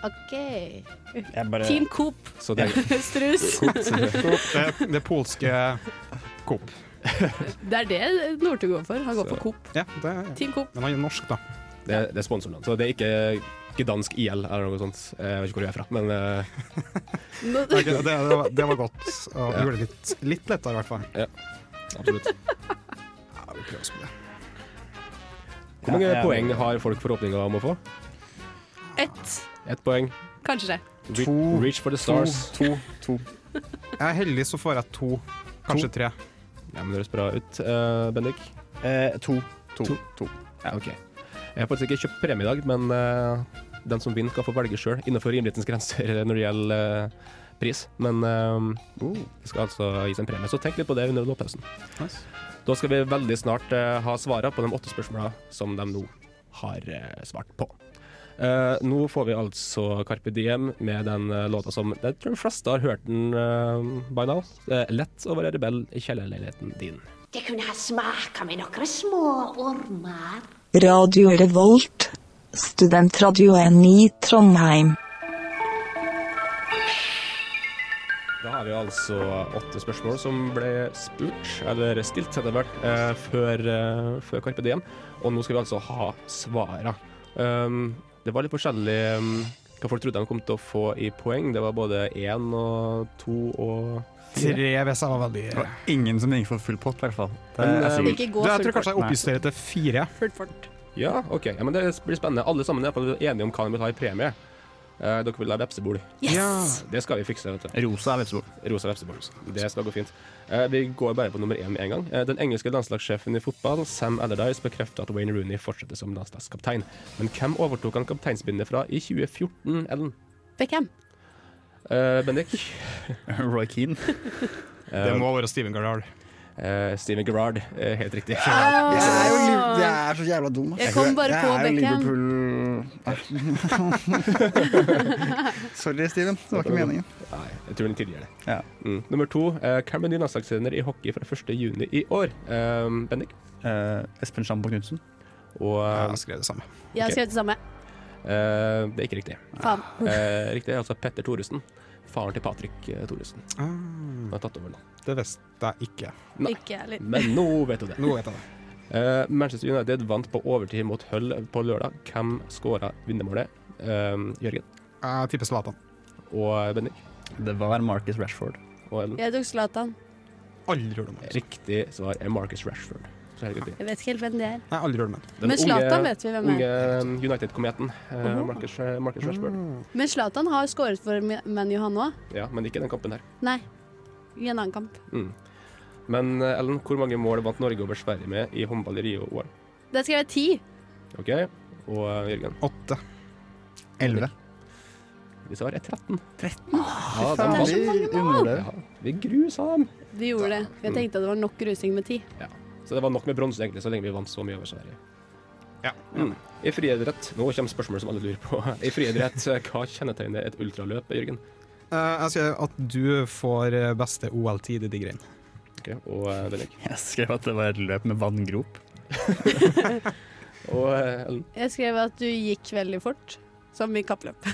Speaker 8: OK.
Speaker 5: Jeg bare-
Speaker 8: Team Coop.
Speaker 5: Så det-
Speaker 8: Strus.
Speaker 5: Coop.
Speaker 9: Det, det polske Coop.
Speaker 8: Det er det Northug går for. Han går for Coop.
Speaker 9: Ja, det er
Speaker 8: Team Coop.
Speaker 9: Men han er norsk, da.
Speaker 5: Det, det er sponsornavn. Så det er ikke Gdansk IL eller noe sånt. Jeg vet ikke hvor du er fra, men eh,
Speaker 9: Ok, det, det, var, det var godt. Og
Speaker 5: Ja.
Speaker 9: det gjorde det litt, litt lettere, i hvert fall.
Speaker 5: ja. Absolutt.
Speaker 9: Ja, vi prøver å spille.
Speaker 5: Hvor mange
Speaker 9: Ja, jeg-
Speaker 5: poeng har folk forhåpninger om å få?
Speaker 8: Ett.
Speaker 5: Ett poeng.
Speaker 8: Kanskje det.
Speaker 5: Re
Speaker 9: To.
Speaker 5: reach for the stars.
Speaker 9: To, to, to. Jeg er heldig, så får jeg to. Kanskje tre.
Speaker 5: Ja, men det høres bra ut. Eh, Bendik?
Speaker 10: eh, to.
Speaker 5: To. Ja, OK. Jeg har faktisk ikke kjøpt premie i dag, men eh, den som vinner, kan få velge sjøl, innenfor rimelighetens grenser når det gjelder eh, pris. Men eh, det skal altså gis en premie, så tenk litt på det under låtpausen. Da skal vi veldig snart eh, ha svarene på de åtte spørsmåla som de nå har eh, svart på. Eh, nå får vi altså Carpe Diem med den eh, låta som jeg tror de fleste har hørt den eh, by now. Eh, 'Lett å være rebell i kjellerleiligheten din'.
Speaker 16: Det kunne ha smaka med nokre små ormar.
Speaker 17: Radio Revolt, studentradioen i Trondheim.
Speaker 5: Da har vi altså åtte spørsmål som ble spurt, eller stilt etter hvert, eh, før, eh, før Carpe Diem. Og nå skal vi altså ha svarene. Um, det var litt forskjellig um, hva folk trodde de kom til å få i poeng. Det var både én og to og
Speaker 9: Tre hvis jeg var veldig
Speaker 10: Det var ingen som gikk for full pott, i hvert fall. Det
Speaker 5: Men,
Speaker 10: er
Speaker 5: eh,
Speaker 10: sikkert.
Speaker 5: Ikke gå Du, jeg full tror kanskje jeg pott, nei. oppjusterer
Speaker 9: til fire.
Speaker 8: Fullt fort.
Speaker 5: Ja, OK. Ja, men det blir spennende. Alle sammen er i hvert fall enige om hva de vil ha i premie. Eh, dere vil ha vepsebol.
Speaker 8: Yes!
Speaker 5: Det skal vi fikse. vet du.
Speaker 10: Rosa vepsebol.
Speaker 5: Rosa vepsebol. Det skal gå fint. Eh, vi går bare på nummer én med en gang. Eh, den engelske landslagssjefen i fotball, Sam Allardyce, bekrefter at Wayne Rooney fortsetter som landslagskaptein. Men hvem overtok han kapteinsbindet fra i 2014, Ellen?
Speaker 8: Beckham.
Speaker 5: Eh, Bendik?
Speaker 10: Roy Keane.
Speaker 9: Det må være Steven Gerrard.
Speaker 5: eh, Steven Gerrard, eh, helt riktig.
Speaker 10: Jeg er jo liv-
Speaker 8: Ah.
Speaker 10: jeg er så jævla dum. ass.
Speaker 8: Jeg kom bare på
Speaker 10: Jeg er jo
Speaker 8: Beckham.
Speaker 10: Liverpool Sorry, Steven. Det var ikke meningen.
Speaker 5: Nei, jeg tror den tidligere. Mm. Nummer to, eh, hvem er ny landslagstrener i hockey fra 1. juni i år? Eh, Bendik? Eh,
Speaker 10: Espen Schambo Knutsen.
Speaker 5: Og
Speaker 9: Jeg har skrevet det samme.
Speaker 8: Jeg har skrevet det samme.
Speaker 5: Eh, det er ikke riktig.
Speaker 8: Faen.
Speaker 5: Eh, riktig er altså Petter Thoresen. Faren til Patrick eh, Thoresen.
Speaker 9: Ah.
Speaker 5: Han har tatt over nå.
Speaker 9: Det visste jeg ikke.
Speaker 5: Nei.
Speaker 8: Ikke heller.
Speaker 5: Men nå vet du det.
Speaker 9: Nå vet jeg det.
Speaker 5: Eh, Manchester United vant på overtid mot Hull på lørdag. Hvem skåra vinnermålet? Eh, Jørgen
Speaker 9: Jeg tipper Zlatan.
Speaker 5: og Bendik.
Speaker 10: Det var Marcus Rashford.
Speaker 5: Og Ellen.
Speaker 8: Jeg tok Zlatan.
Speaker 9: Aldri hørt om ham.
Speaker 5: Riktig svar er Marcus Rashford. Så helt riktig.
Speaker 8: Jeg vet ikke helt hvem det er.
Speaker 9: Nei, aldri hørt om ham.
Speaker 5: Den
Speaker 8: Men Zlatan vet vi hvem er. Ah.
Speaker 5: Unge United-kometen. eh, Marcus, Marcus Rashford.
Speaker 8: Men Zlatan har skåret for ManU, han òg.
Speaker 5: Ja, men ikke den kampen her.
Speaker 8: Nei. I en annen kamp.
Speaker 5: Mm. Men eh, Ellen, hvor mange mål vant Norge over Sverige med i håndball i Rio-OL?
Speaker 8: Der skrev jeg ti.
Speaker 5: OK, og eh, Jørgen?
Speaker 9: Åtte.
Speaker 10: Elleve.
Speaker 5: Vi svarer 13.
Speaker 10: 13?
Speaker 5: Ja,
Speaker 8: faen,
Speaker 5: var-
Speaker 8: det er så mange mål!
Speaker 5: Ja, vi grusa dem.
Speaker 8: Vi gjorde det. Jeg tenkte at det var nok rusing med ti.
Speaker 5: Så det var nok med bronse, egentlig, så lenge vi vant så mye over Sverige. Mm. I friidrett Nå kommer spørsmålet som alle lurer på. I friidrett, eh, hva kjennetegner et ultraløp, Jørgen?
Speaker 9: Eh, jeg sier at du får eh, beste OL-tid i de greiene.
Speaker 5: Ok, og eh, Bennik.
Speaker 10: Jeg skrev at det var et løp med vanngrop.
Speaker 5: Og eh, Ellen.
Speaker 8: Jeg skrev at du gikk veldig fort, som i kappløp.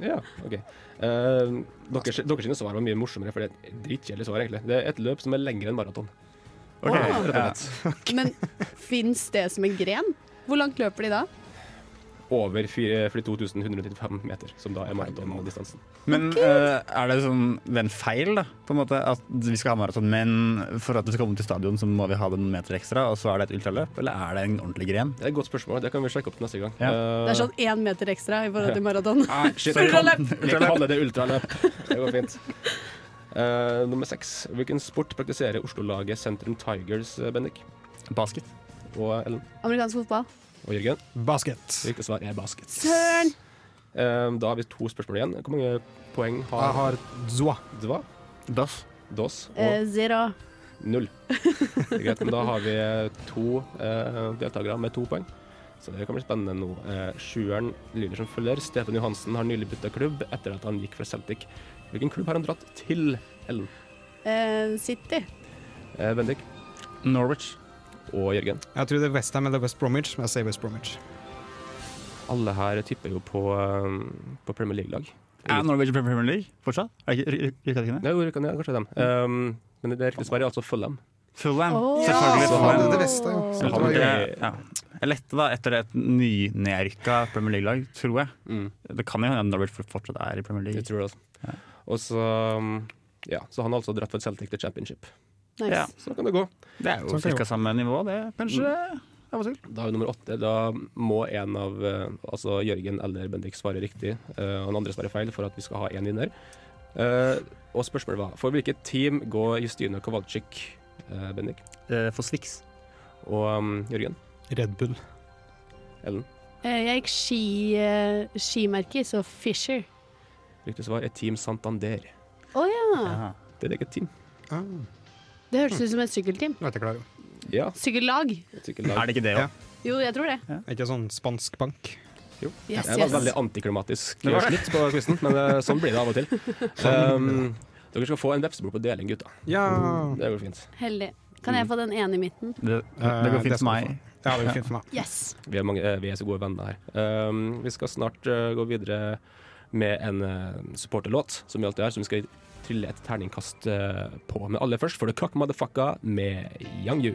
Speaker 5: Ja, OK. Eh, deres, deres sine svar var mye morsommere, for det er et dritkjedelig svar, egentlig. Det er et løp som er lengre enn maraton.
Speaker 10: Ok,
Speaker 5: Rett og
Speaker 10: ja.
Speaker 5: slett.
Speaker 8: Men fins det som en gren? Hvor langt løper de da?
Speaker 5: Over fire- 42.195 meter, som da er maratondistansen.
Speaker 10: Men eh, er det sånn det er en feil, da? På en måte, at vi skal ha maraton, men for at vi skal komme til stadion, så må vi ha den meter ekstra, og så er det et ultraløp? Eller er det en ordentlig gren?
Speaker 5: Det er et godt spørsmål, det kan vi sjekke opp neste gang. Eh,
Speaker 8: Det er sånn én meter ekstra i forhold til maraton.
Speaker 5: Nei, Ah, shit,
Speaker 8: For
Speaker 5: jeg
Speaker 8: å
Speaker 5: kan,
Speaker 8: løpe.
Speaker 5: jeg kaller det ultraløp. Det går fint. Eh, nummer seks. Hvilken sport praktiserer Oslo-laget Sentrum Tigers, eh, Bendik? Basket. Og Ellen?
Speaker 8: Amerikansk fotball.
Speaker 5: Og Jørgen? Basket. Riktig svar er basket.
Speaker 8: Søren!
Speaker 5: Eh, da har vi to spørsmål igjen. Hvor mange poeng har
Speaker 9: Jeg har
Speaker 5: Dwa. Dos. Dos. Og
Speaker 8: Eh, zero.
Speaker 5: null. Det er greit, men da har vi to eh, deltakere med to poeng. Så det kan bli spennende nå. Eh, sjueren lyder som følger. Stefan Johansen har nylig bytta klubb etter at han gikk fra Celtic. Hvilken klubb har han dratt til, Ellen?
Speaker 8: Eh, City.
Speaker 5: Eh, Bendik?
Speaker 9: Norwich.
Speaker 5: Og Jørgen?
Speaker 9: Jeg tror det er Westham eller West Bromwich, men jeg sier West Bromwich.
Speaker 5: Alle her tipper jo på, eh, på Premier League-lag.
Speaker 10: Er Norwich Premier League fortsatt? Er det ikke, rykker det ikke ned?
Speaker 5: Jo, rykker ned, kanskje dem. Um, men det riktige svaret er altså Fulham.
Speaker 10: Fulham.
Speaker 5: Åh!
Speaker 10: Selvfølgelig.
Speaker 5: Ja,
Speaker 10: Fulham.
Speaker 5: det er det beste, ja.
Speaker 10: Så
Speaker 5: Det
Speaker 10: han
Speaker 5: var
Speaker 10: ble-
Speaker 5: gøy.
Speaker 10: ja. Jeg lette da etter et nynedrykka Premier League-lag, tror jeg. Det kan jo hende Norwich fortsatt er i Premier League.
Speaker 5: Jeg tror Mm. det også. Og så, um, ja, så han har altså dratt fra Celtic til Championship.
Speaker 10: Nice.
Speaker 5: Ja, så kan det gå.
Speaker 10: Det er jo cirka samme nivå, det, kanskje.
Speaker 5: Da er vi nummer åtte. Da må en av eh, altså Jørgen eller Bendik svare riktig, eh, og den andre svarer feil, for at vi skal ha én vinner. Eh, og spørsmålet var for hvilket team går Justine Kowalczyk, eh, Bendik?
Speaker 10: for Swix.
Speaker 5: Og um, Jørgen?
Speaker 9: Red Bull.
Speaker 5: Ellen?
Speaker 8: Eh, jeg gikk ski, eh, skimerke, så Fisher.
Speaker 5: Riktig svar er Team Santander.
Speaker 8: Å
Speaker 5: Mm.
Speaker 8: ja.
Speaker 5: Det er et eget team.
Speaker 9: Ah,
Speaker 8: Det hørtes ut som et sykkelteam.
Speaker 5: Ja.
Speaker 8: Sykkellag.
Speaker 9: Er det ikke det, da?
Speaker 8: Jo, jeg tror det.
Speaker 9: Er ikke sånn spansk bank?
Speaker 5: Jo.
Speaker 8: Yes,
Speaker 5: det var
Speaker 8: yes.
Speaker 5: veldig antiklimatisk
Speaker 9: Det Sånn. var det.
Speaker 5: slutt på quizen, men eh, sånn blir det av og til. Um, dere skal få en vepsebord på deling, gutta.
Speaker 9: Ja.
Speaker 5: Det går fint.
Speaker 8: Heldig. Kan
Speaker 5: Mm.
Speaker 8: jeg få den ene i midten?
Speaker 5: Det,
Speaker 9: det går fint Eh, det for skal meg. du få. Ja, det går fint for meg.
Speaker 8: Yes.
Speaker 5: Vi er, mange, eh, vi er så gode venner her. Um, vi skal snart eh, gå videre med en eh, supporterlåt, som vi alltid har, som vi skal trille et terningkast eh, på. Men aller først får du Cock Motherfucka med Yang Yu.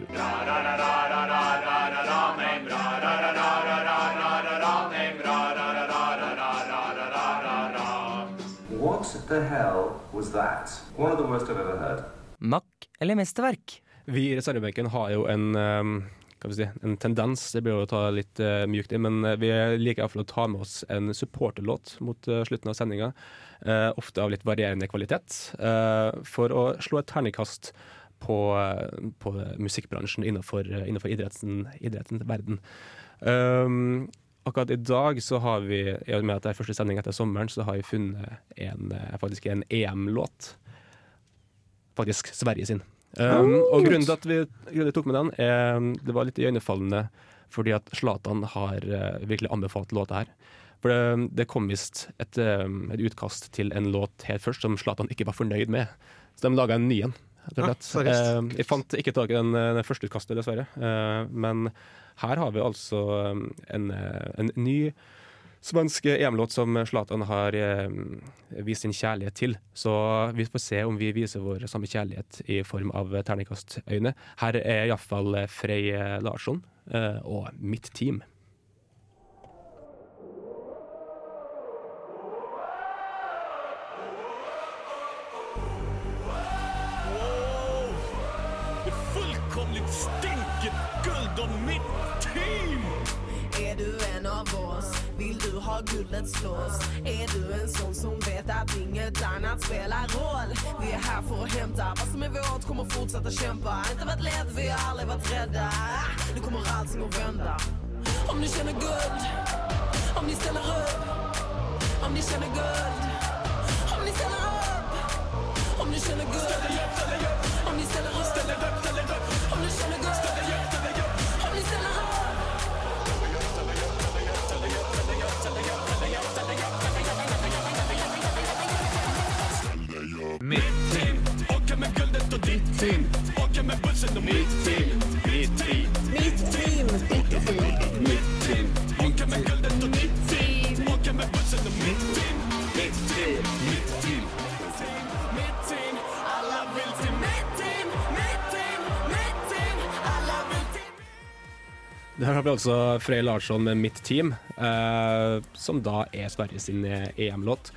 Speaker 18: What the hell was that? One of the worst I've ever heard.
Speaker 5: Mack eller mesterverk? Vi i reservebenken har jo en um, hva skal vi si, en tendens, det blir jo å ta litt eh, mjukt i, men eh, vi liker iallfall å ta med oss en supporterlåt mot eh, slutten av sendinga. eh, ofte av litt varierende kvalitet. eh, for å slå et terningkast på, eh, på musikkbransjen innenfor, eh, innenfor idretten, idrettens verden. Um, akkurat i dag så har vi, i og med at det er første sending etter sommeren, så har vi funnet en, eh, faktisk en EM-låt faktisk Sverige sin. Um,
Speaker 19: Oh.
Speaker 5: og grunnen til at vi grunnen til at vi tok med den, er, det var litt iøynefallende fordi at Zlatan har eh, virkelig anbefalt låta her. For det, det kom visst et, eh, et utkast til en låt helt først som Zlatan ikke var fornøyd med. Så de laga en ny en. rett og
Speaker 19: Ah,
Speaker 5: slett.
Speaker 19: seriøst?
Speaker 5: Eh, jeg fant ikke tak i den, eh, den første utkastet, dessverre. Eh, men her har vi altså eh, en, eh, en ny svensk EM-låt som Zlatan har eh, vist sin kjærlighet til. Så vi får se om vi viser vår samme kjærlighet i form av terningkastøyne. Her er iallfall Frey Larsson eh, og mitt team.
Speaker 20: Det fullkomligt stänker guld om mitt team!
Speaker 6: Är du en av oss? Vill du ha guldet slås? Är du en sån som vet att inget annat spelar roll? Vi är här för att hämta vad som är vårt, kommer fortsätta kämpa Inte varit lätt, vi har aldrig varit rädda Nu kommer allting att vända Om ni känner guld, om ni ställer upp Om ni känner guld, om ni ställer upp Om ni känner guld, om ni ställer upp Om ni känner guld, om ni ställer upp
Speaker 20: Mitt team åker med guldet och ditt team åker med bussen och mitt team Mitt team Mitt team Mitt team åker med guldet och ditt team åker med bussen och mitt team Mitt team Mitt team Mitt team Alla vill till mitt team Mitt team Mitt team Alla vill till
Speaker 5: Der har vi altså Frey Larsson med Mitt Team, eh, som da er Sverige sin eh, EM-låt.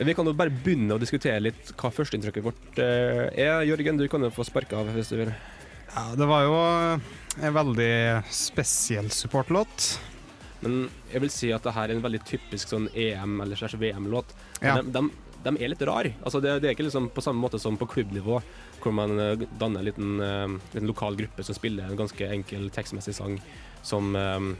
Speaker 5: Vi kan jo bare begynne å diskutere litt hva førsteinntrykket vårt eh, er. Jørgen, du kan jo få sparka av hvis du vil.
Speaker 9: Ja, det var jo eh, en veldig spesiell supportlåt.
Speaker 5: E Men jeg vil si at det her er en veldig typisk sånn EM- eller slash VM-låt.
Speaker 9: Ja.
Speaker 5: De, de, de er litt rare. Altså, det, det er ikke liksom på samme måte som på klubbnivå, hvor man eh, danner en liten, eh, liten lokal gruppe som spiller en ganske enkel tekstmessig sang som eh,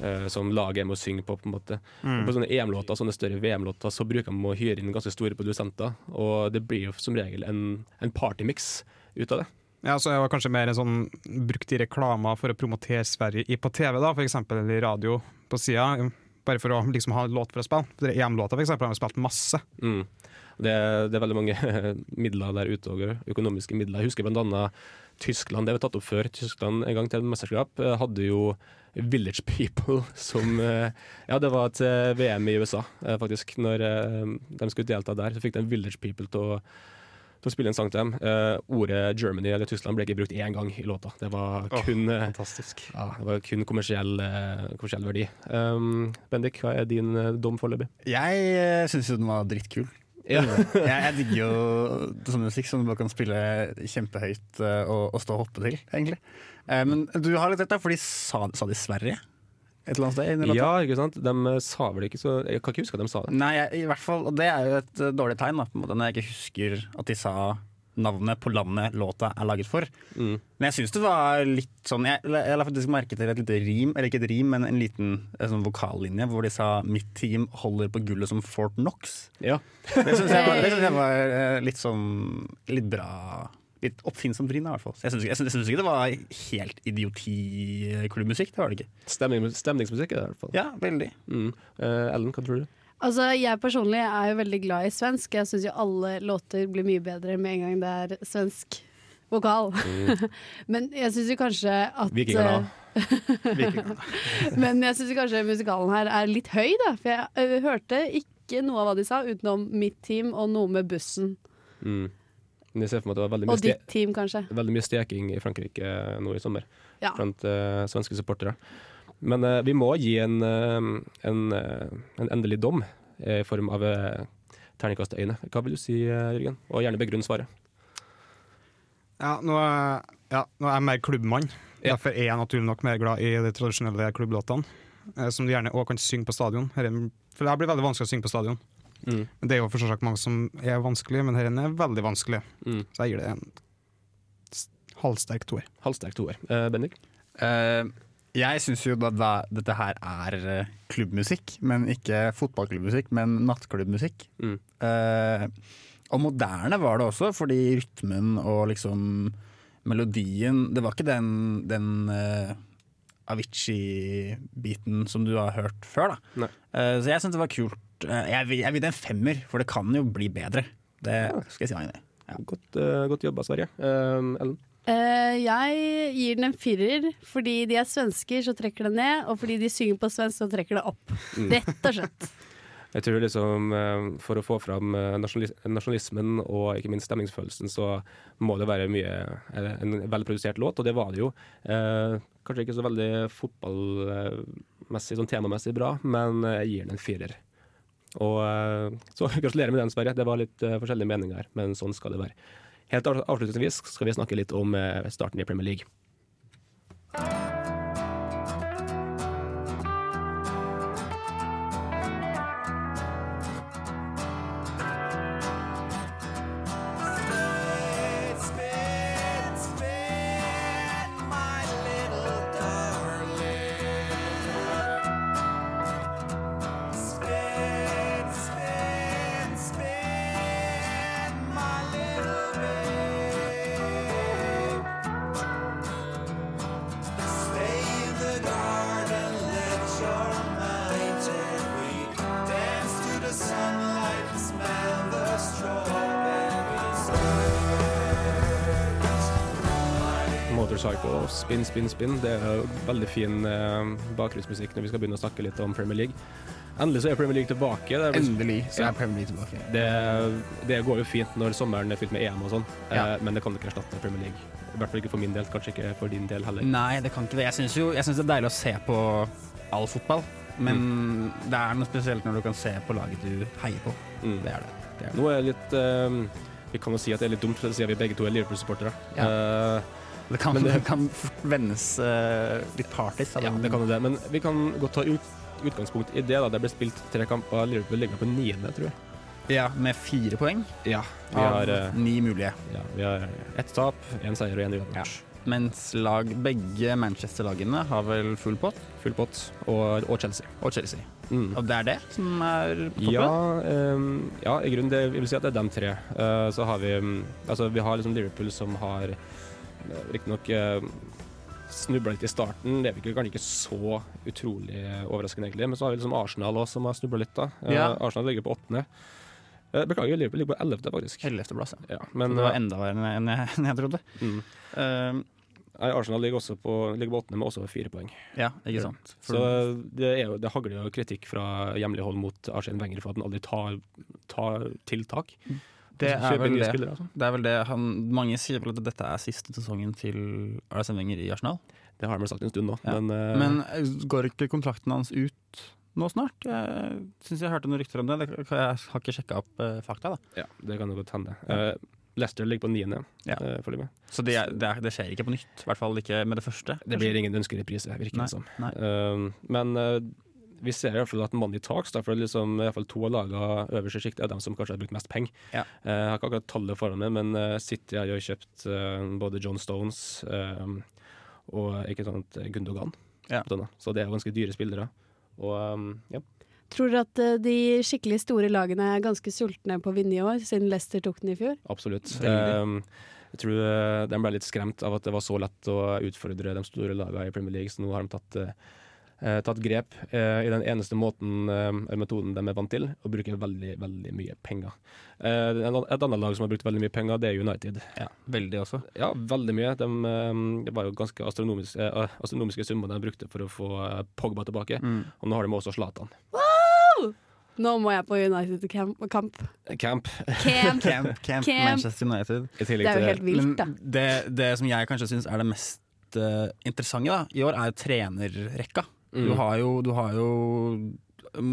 Speaker 5: eh, som laget er med å synge på, på en måte.
Speaker 19: Mm.
Speaker 5: Og På sånne EM-låter, sånne større VM-låter, så bruker de å hyre inn ganske store produsenter, og det blir jo som regel en, en partymix ut av det.
Speaker 9: Ja, så jeg var kanskje mer en sånn brukt i reklama for å promotere Sverige i, på TV, da, for eksempel, eller i radio på sida. Bare for å liksom ha en låt for å spille. For EM-låta for eksempel, har vi spilt masse.
Speaker 5: Mm. Det, det er veldig mange midler der ute òg, økonomiske midler. Jeg husker bl.a. Tyskland, det har vi tatt opp før. Tyskland en gang til et mesterskap eh, hadde jo Village People som eh, Ja, det var et eh, VM i USA, eh, faktisk. Når eh, de skulle delta der, så fikk de Village People til å til å spille en sang til dem. Eh, ordet Germany eller Tyskland ble ikke brukt én gang i låta. Det var
Speaker 9: Åh,
Speaker 5: kun, eh,
Speaker 9: fantastisk.
Speaker 5: ja, det var kun kommersiell, eh, kommersiell verdi. Um, Bendik, hva er din eh, dom foreløpig?
Speaker 10: Jeg syns jo den var drittkul.
Speaker 5: Ja.
Speaker 10: jeg, jeg digger jo sånn musikk som du bare kan spille kjempehøyt eh, og, og stå og hoppe til, egentlig. Eh, men du har litt rett, da, for de sa, sa de Sverige et eller annet sted? inni låta?
Speaker 5: Ja, ikke sant? De eh, sa vel ikke så Jeg kan ikke huske at de sa det.
Speaker 10: Nei, jeg, i hvert fall, og det er jo et eh, dårlig tegn, da, på en måte, når jeg ikke husker at de sa navnet på landet låta er laget for.
Speaker 5: Mm.
Speaker 10: Men jeg syns det var litt sånn Jeg, jeg la faktisk merke til et lite rim, eller ikke et rim, men en liten eh, sånn vokallinje hvor de sa 'mitt team holder på gullet som Fort Knox'. Det syns jeg, var- det synes jeg var eh, litt sånn litt bra Litt oppfinnsomt rim, da, i hvert fall. Så Jeg syns ikke, jeg synes- jeg synes ikke det var helt idiotiklubbmusikk, det var det ikke.
Speaker 5: Stemning, stemningsmusikk er det i hvert fall. Mm. Eh,
Speaker 10: Ja, veldig.
Speaker 5: Ellen, hva tror du?
Speaker 8: Altså, Jeg personlig er jo veldig glad i svensk. Jeg syns jo alle låter blir mye bedre med en gang det er svensk vokal.
Speaker 5: Mm.
Speaker 8: Men jeg syns jo kanskje at eh,
Speaker 5: Vikingarna.
Speaker 8: Men jeg syns kanskje musikalen her er litt høy, da. For jeg ø, hørte ikke noe av hva de sa, utenom mitt team og noe med bussen.
Speaker 5: Mm. Men jeg ser for meg at det var veldig
Speaker 8: Og
Speaker 5: mye,
Speaker 8: ditt
Speaker 5: ste
Speaker 8: team, kanskje.
Speaker 5: veldig mye steking i Frankrike eh, nå i sommer
Speaker 8: Ja.
Speaker 5: blant eh, svenske supportere. Men eh, vi må gi en, eh, en, eh, en endelig dom eh, i form av uh, terningkastøyne. Hva vil du si, eh, Jørgen? Og gjerne begrunn svaret.
Speaker 9: Ja, nå er, ja, nå er jeg mer klubbmann. Derfor er jeg naturlig nok mer glad i de tradisjonelle klubblåtene. eh, Som du gjerne òg kan synge på stadion. Her er, for det her blir veldig vanskelig å synge på stadion.
Speaker 5: Mm.
Speaker 9: Men Det er jo for selvsagt mange som er vanskelig, men denne er veldig vanskelig.
Speaker 5: Mm.
Speaker 9: Så jeg gir det en s- halvsterk toer.
Speaker 5: Halvsterk toer. Uh, Bendik?
Speaker 10: Eh, jeg syns jo da, da dette her er eh, klubbmusikk, men ikke fotballklubbmusikk, men nattklubbmusikk. Eh, og moderne var det også, fordi rytmen og liksom melodien Det var ikke den, den eh, Avicii-biten som du har hørt før, da.
Speaker 5: Nei.
Speaker 10: Eh, så jeg syns det var kult. Eh, jeg vil- jeg vil gi det en femmer, for det kan jo bli bedre. Det skal jeg si meg enig i.
Speaker 5: Godt, eh, godt jobba, Sverige. Eh, Ellen?
Speaker 8: Eh, jeg gir den en firer. Fordi de er svensker, så trekker det ned. Og fordi de synger på svensk, så trekker det opp.
Speaker 5: Mm.
Speaker 8: Rett og slett.
Speaker 5: Jeg tror liksom eh, for å få fram eh, nasjonalis nasjonalismen og ikke minst stemningsfølelsen, så må det være mye eh, en velprodusert låt, og det var det jo. Eh, kanskje ikke så veldig fotballmessig, sånn temamessig bra, men eh, jeg gir den en firer. Og eh, så gratulerer med den, Sverre. Det var litt eh, forskjellige meninger her, men sånn skal det være. Helt av- avslutningsvis skal vi snakke litt om eh, starten i Premier League.
Speaker 20: Sunlight and smell the strawberries.
Speaker 5: Motorcycle og Spin, Spin, Spin. Det er jo veldig fin eh, bakgrunnsmusikk når vi skal begynne å snakke litt om Premier League. Endelig så er Premier League tilbake. Det er-
Speaker 10: Endelig så
Speaker 5: Ja.
Speaker 10: er Premier League tilbake.
Speaker 5: Det, det går jo fint når sommeren er fylt med EM og sånn, eh,
Speaker 10: Ja.
Speaker 5: men det kan ikke erstatte Premier League. I hvert fall ikke for min del, kanskje ikke for din del heller.
Speaker 10: Nei, det kan ikke det. Jeg syns jo jeg synes det er deilig å se på all fotball, men
Speaker 5: Mm.
Speaker 10: det er noe spesielt når du kan se på laget du heier på. Det er det. det, er det.
Speaker 5: Mm. Nå er det litt eh, Vi kan jo si at det er litt dumt, for siden vi begge to er Liverpool-supportere. Eh,
Speaker 10: Det kan,
Speaker 5: men
Speaker 10: det, kan fort vendes eh, litt parties.
Speaker 5: Ja, det kan jo det, men vi kan godt ta ut, utgangspunkt i det. da Det ble spilt tre kamper, Liverpool ligger på niende, tror jeg.
Speaker 10: Ja, med fire poeng.
Speaker 5: Ja, vi
Speaker 10: Av
Speaker 5: har, eh,
Speaker 10: ni mulige.
Speaker 5: Ja, vi har ett tap, én seier og én uavgjort.
Speaker 10: Mens lag, begge Manchester-lagene har vel full pott?
Speaker 5: Full pott, og, og Chelsea.
Speaker 10: Og Chelsea.
Speaker 5: Mm.
Speaker 10: Og det er det som er toppen?
Speaker 5: Ja, ehm, ja, i grunnen det, jeg vil si at det er dem tre. Eh, så har vi mm, altså, vi har liksom Liverpool som har eh, riktignok uh, snubla litt i starten. Det er vel ikke- kanskje ikke så utrolig overraskende, egentlig. Men så har vi liksom Arsenal også, som har snubla litt. da. Eh,
Speaker 10: Ja.
Speaker 5: Arsenal ligger på åttende. Eh, beklager, Liverpool ligger på ellevte, faktisk.
Speaker 10: Ellevteplass,
Speaker 5: ja. men,
Speaker 10: Så det var
Speaker 5: eh,
Speaker 10: enda verre enn jeg- enn jeg, enn jeg trodde. Eh,
Speaker 5: Mm. Nei, Arsenal ligger også på, ligger på åttende, men også fire poeng.
Speaker 10: Ja, ikke sant.
Speaker 5: Så det, er jo, det hagler jo kritikk fra hjemlig hold mot Arsene Wenger for at han aldri tar, tar tiltak.
Speaker 10: Det
Speaker 5: Altså,
Speaker 10: er,
Speaker 5: kjøper
Speaker 10: vel
Speaker 5: nye
Speaker 10: det.
Speaker 5: spillere, altså.
Speaker 10: det er vel det han, Mange sier vel at dette er siste sesongen til Arsene Wenger i Arsenal.
Speaker 5: Det har han vel sagt en stund nå. Men, eh,
Speaker 10: Men eh, går ikke kontrakten hans ut nå snart? Jeg syns jeg hørte noen rykter om det. det. Jeg har ikke sjekka opp eh, fakta, da.
Speaker 5: Ja, det kan jo godt hende. Eh, Leicester ligger på niende, eh, følger med.
Speaker 10: Så det, er- det, er, det skjer ikke på nytt? I hvert fall ikke med det første?
Speaker 5: Det blir ingen ønskereprise, virker
Speaker 10: Nei,
Speaker 5: det som. Eh, men eh, vi ser i hvert fall at Money Talks, da, for liksom, i hvert fall to av lagene øverst i sjiktet er de som kanskje har brukt mest penger.
Speaker 10: Ja.
Speaker 5: Eh, jeg har ikke akkurat tallet foran meg, men eh, City har jo kjøpt eh, både John Stones eh, og ikke sant, Gundogan.
Speaker 10: Ja.
Speaker 5: Så det er jo ganske dyre spillere. Og eh, ja.
Speaker 8: Tror dere at eh, de skikkelig store lagene er ganske sultne på å vinne i år, siden Leicester tok den i fjor?
Speaker 5: Absolutt.
Speaker 8: Veldig.
Speaker 5: Eh, jeg tror eh, de ble litt skremt av at det var så lett å utfordre de store lagene i Premier League, så nå har de tatt, eh, eh, tatt grep eh, i den eneste måten, eh, eller metoden de er vant til, å bruke veldig, veldig mye penger. Eh, en an- et annet lag som har brukt veldig mye penger, det er United.
Speaker 10: Ja, veldig også.
Speaker 5: Ja, veldig mye. De, eh, det var jo ganske astronomiske, eh, astronomiske summer de brukte for å få eh, Pogba tilbake,
Speaker 10: Mm.
Speaker 5: og nå har de også Zlatan.
Speaker 8: Wow! Nå må jeg på United-kamp.
Speaker 5: Camp.
Speaker 8: Camp.
Speaker 10: Camp, eh, camp,
Speaker 8: Camp.
Speaker 10: Manchester United.
Speaker 8: Det er jo til- helt vilt, da.
Speaker 10: Men Det, det som jeg kanskje syns er det mest eh, interessante da, i år, er jo trenerrekka.
Speaker 5: Mm.
Speaker 10: Du har jo, du har jo um,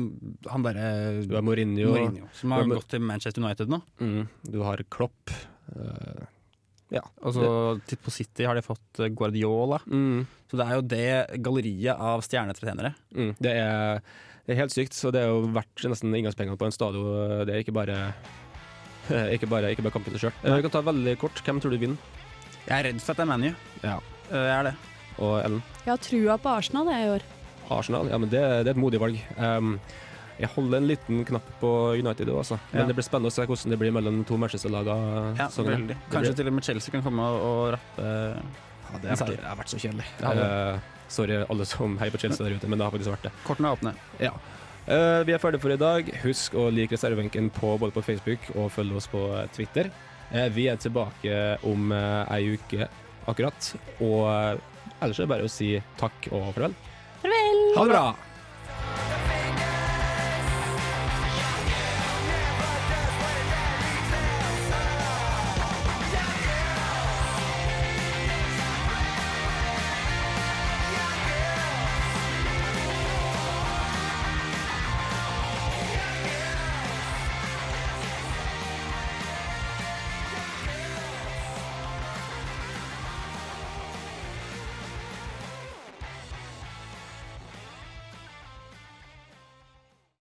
Speaker 10: han derre
Speaker 5: Du har Mourinho.
Speaker 10: som har
Speaker 5: Du har-
Speaker 10: gått til Manchester United nå.
Speaker 5: Mm. Du har Klopp. eh, ja.
Speaker 10: Og så til- Altså, på City har de fått eh, Guardiola. Så det er jo det galleriet av stjernetrenere.
Speaker 5: Mm, det, er, det er helt sykt, så det er jo verdt nesten inngangspengene på en stadion. Det er ikke bare, ikke bare, ikke bare kampen i seg sjøl. Vi kan ta veldig kort. Hvem tror du vinner?
Speaker 10: Jeg er redd for at det er ManU.
Speaker 5: Ja.
Speaker 10: Jeg er det.
Speaker 5: Og Ellen?
Speaker 8: Jeg har trua på Arsenal jeg, i år.
Speaker 5: Arsenal? Ja, men det, det er et modig valg. Um, jeg holder en liten knapp på United òg, altså. Men
Speaker 10: Ja.
Speaker 5: det blir spennende å se hvordan det blir mellom de to Manchester-lagene.
Speaker 10: Ja, veldig. Kanskje til og med Chelsea kan komme og, og rappe.
Speaker 5: Ja, det har vært- det har vært så kjedelig.
Speaker 10: Ja, det-
Speaker 5: Eh, sorry alle som heier på Chelsea der ute, men det har faktisk vært det.
Speaker 10: Kortene er åpne.
Speaker 5: Ja. Eh, vi er ferdige for i dag. Husk å like reservebenken på, både på Facebook og følge oss på eh, Twitter. Eh, vi er tilbake om uh, ei uke eh, akkurat. Og eh, ellers er det bare å si takk og farvel.
Speaker 8: Farvel!
Speaker 5: Ha det bra!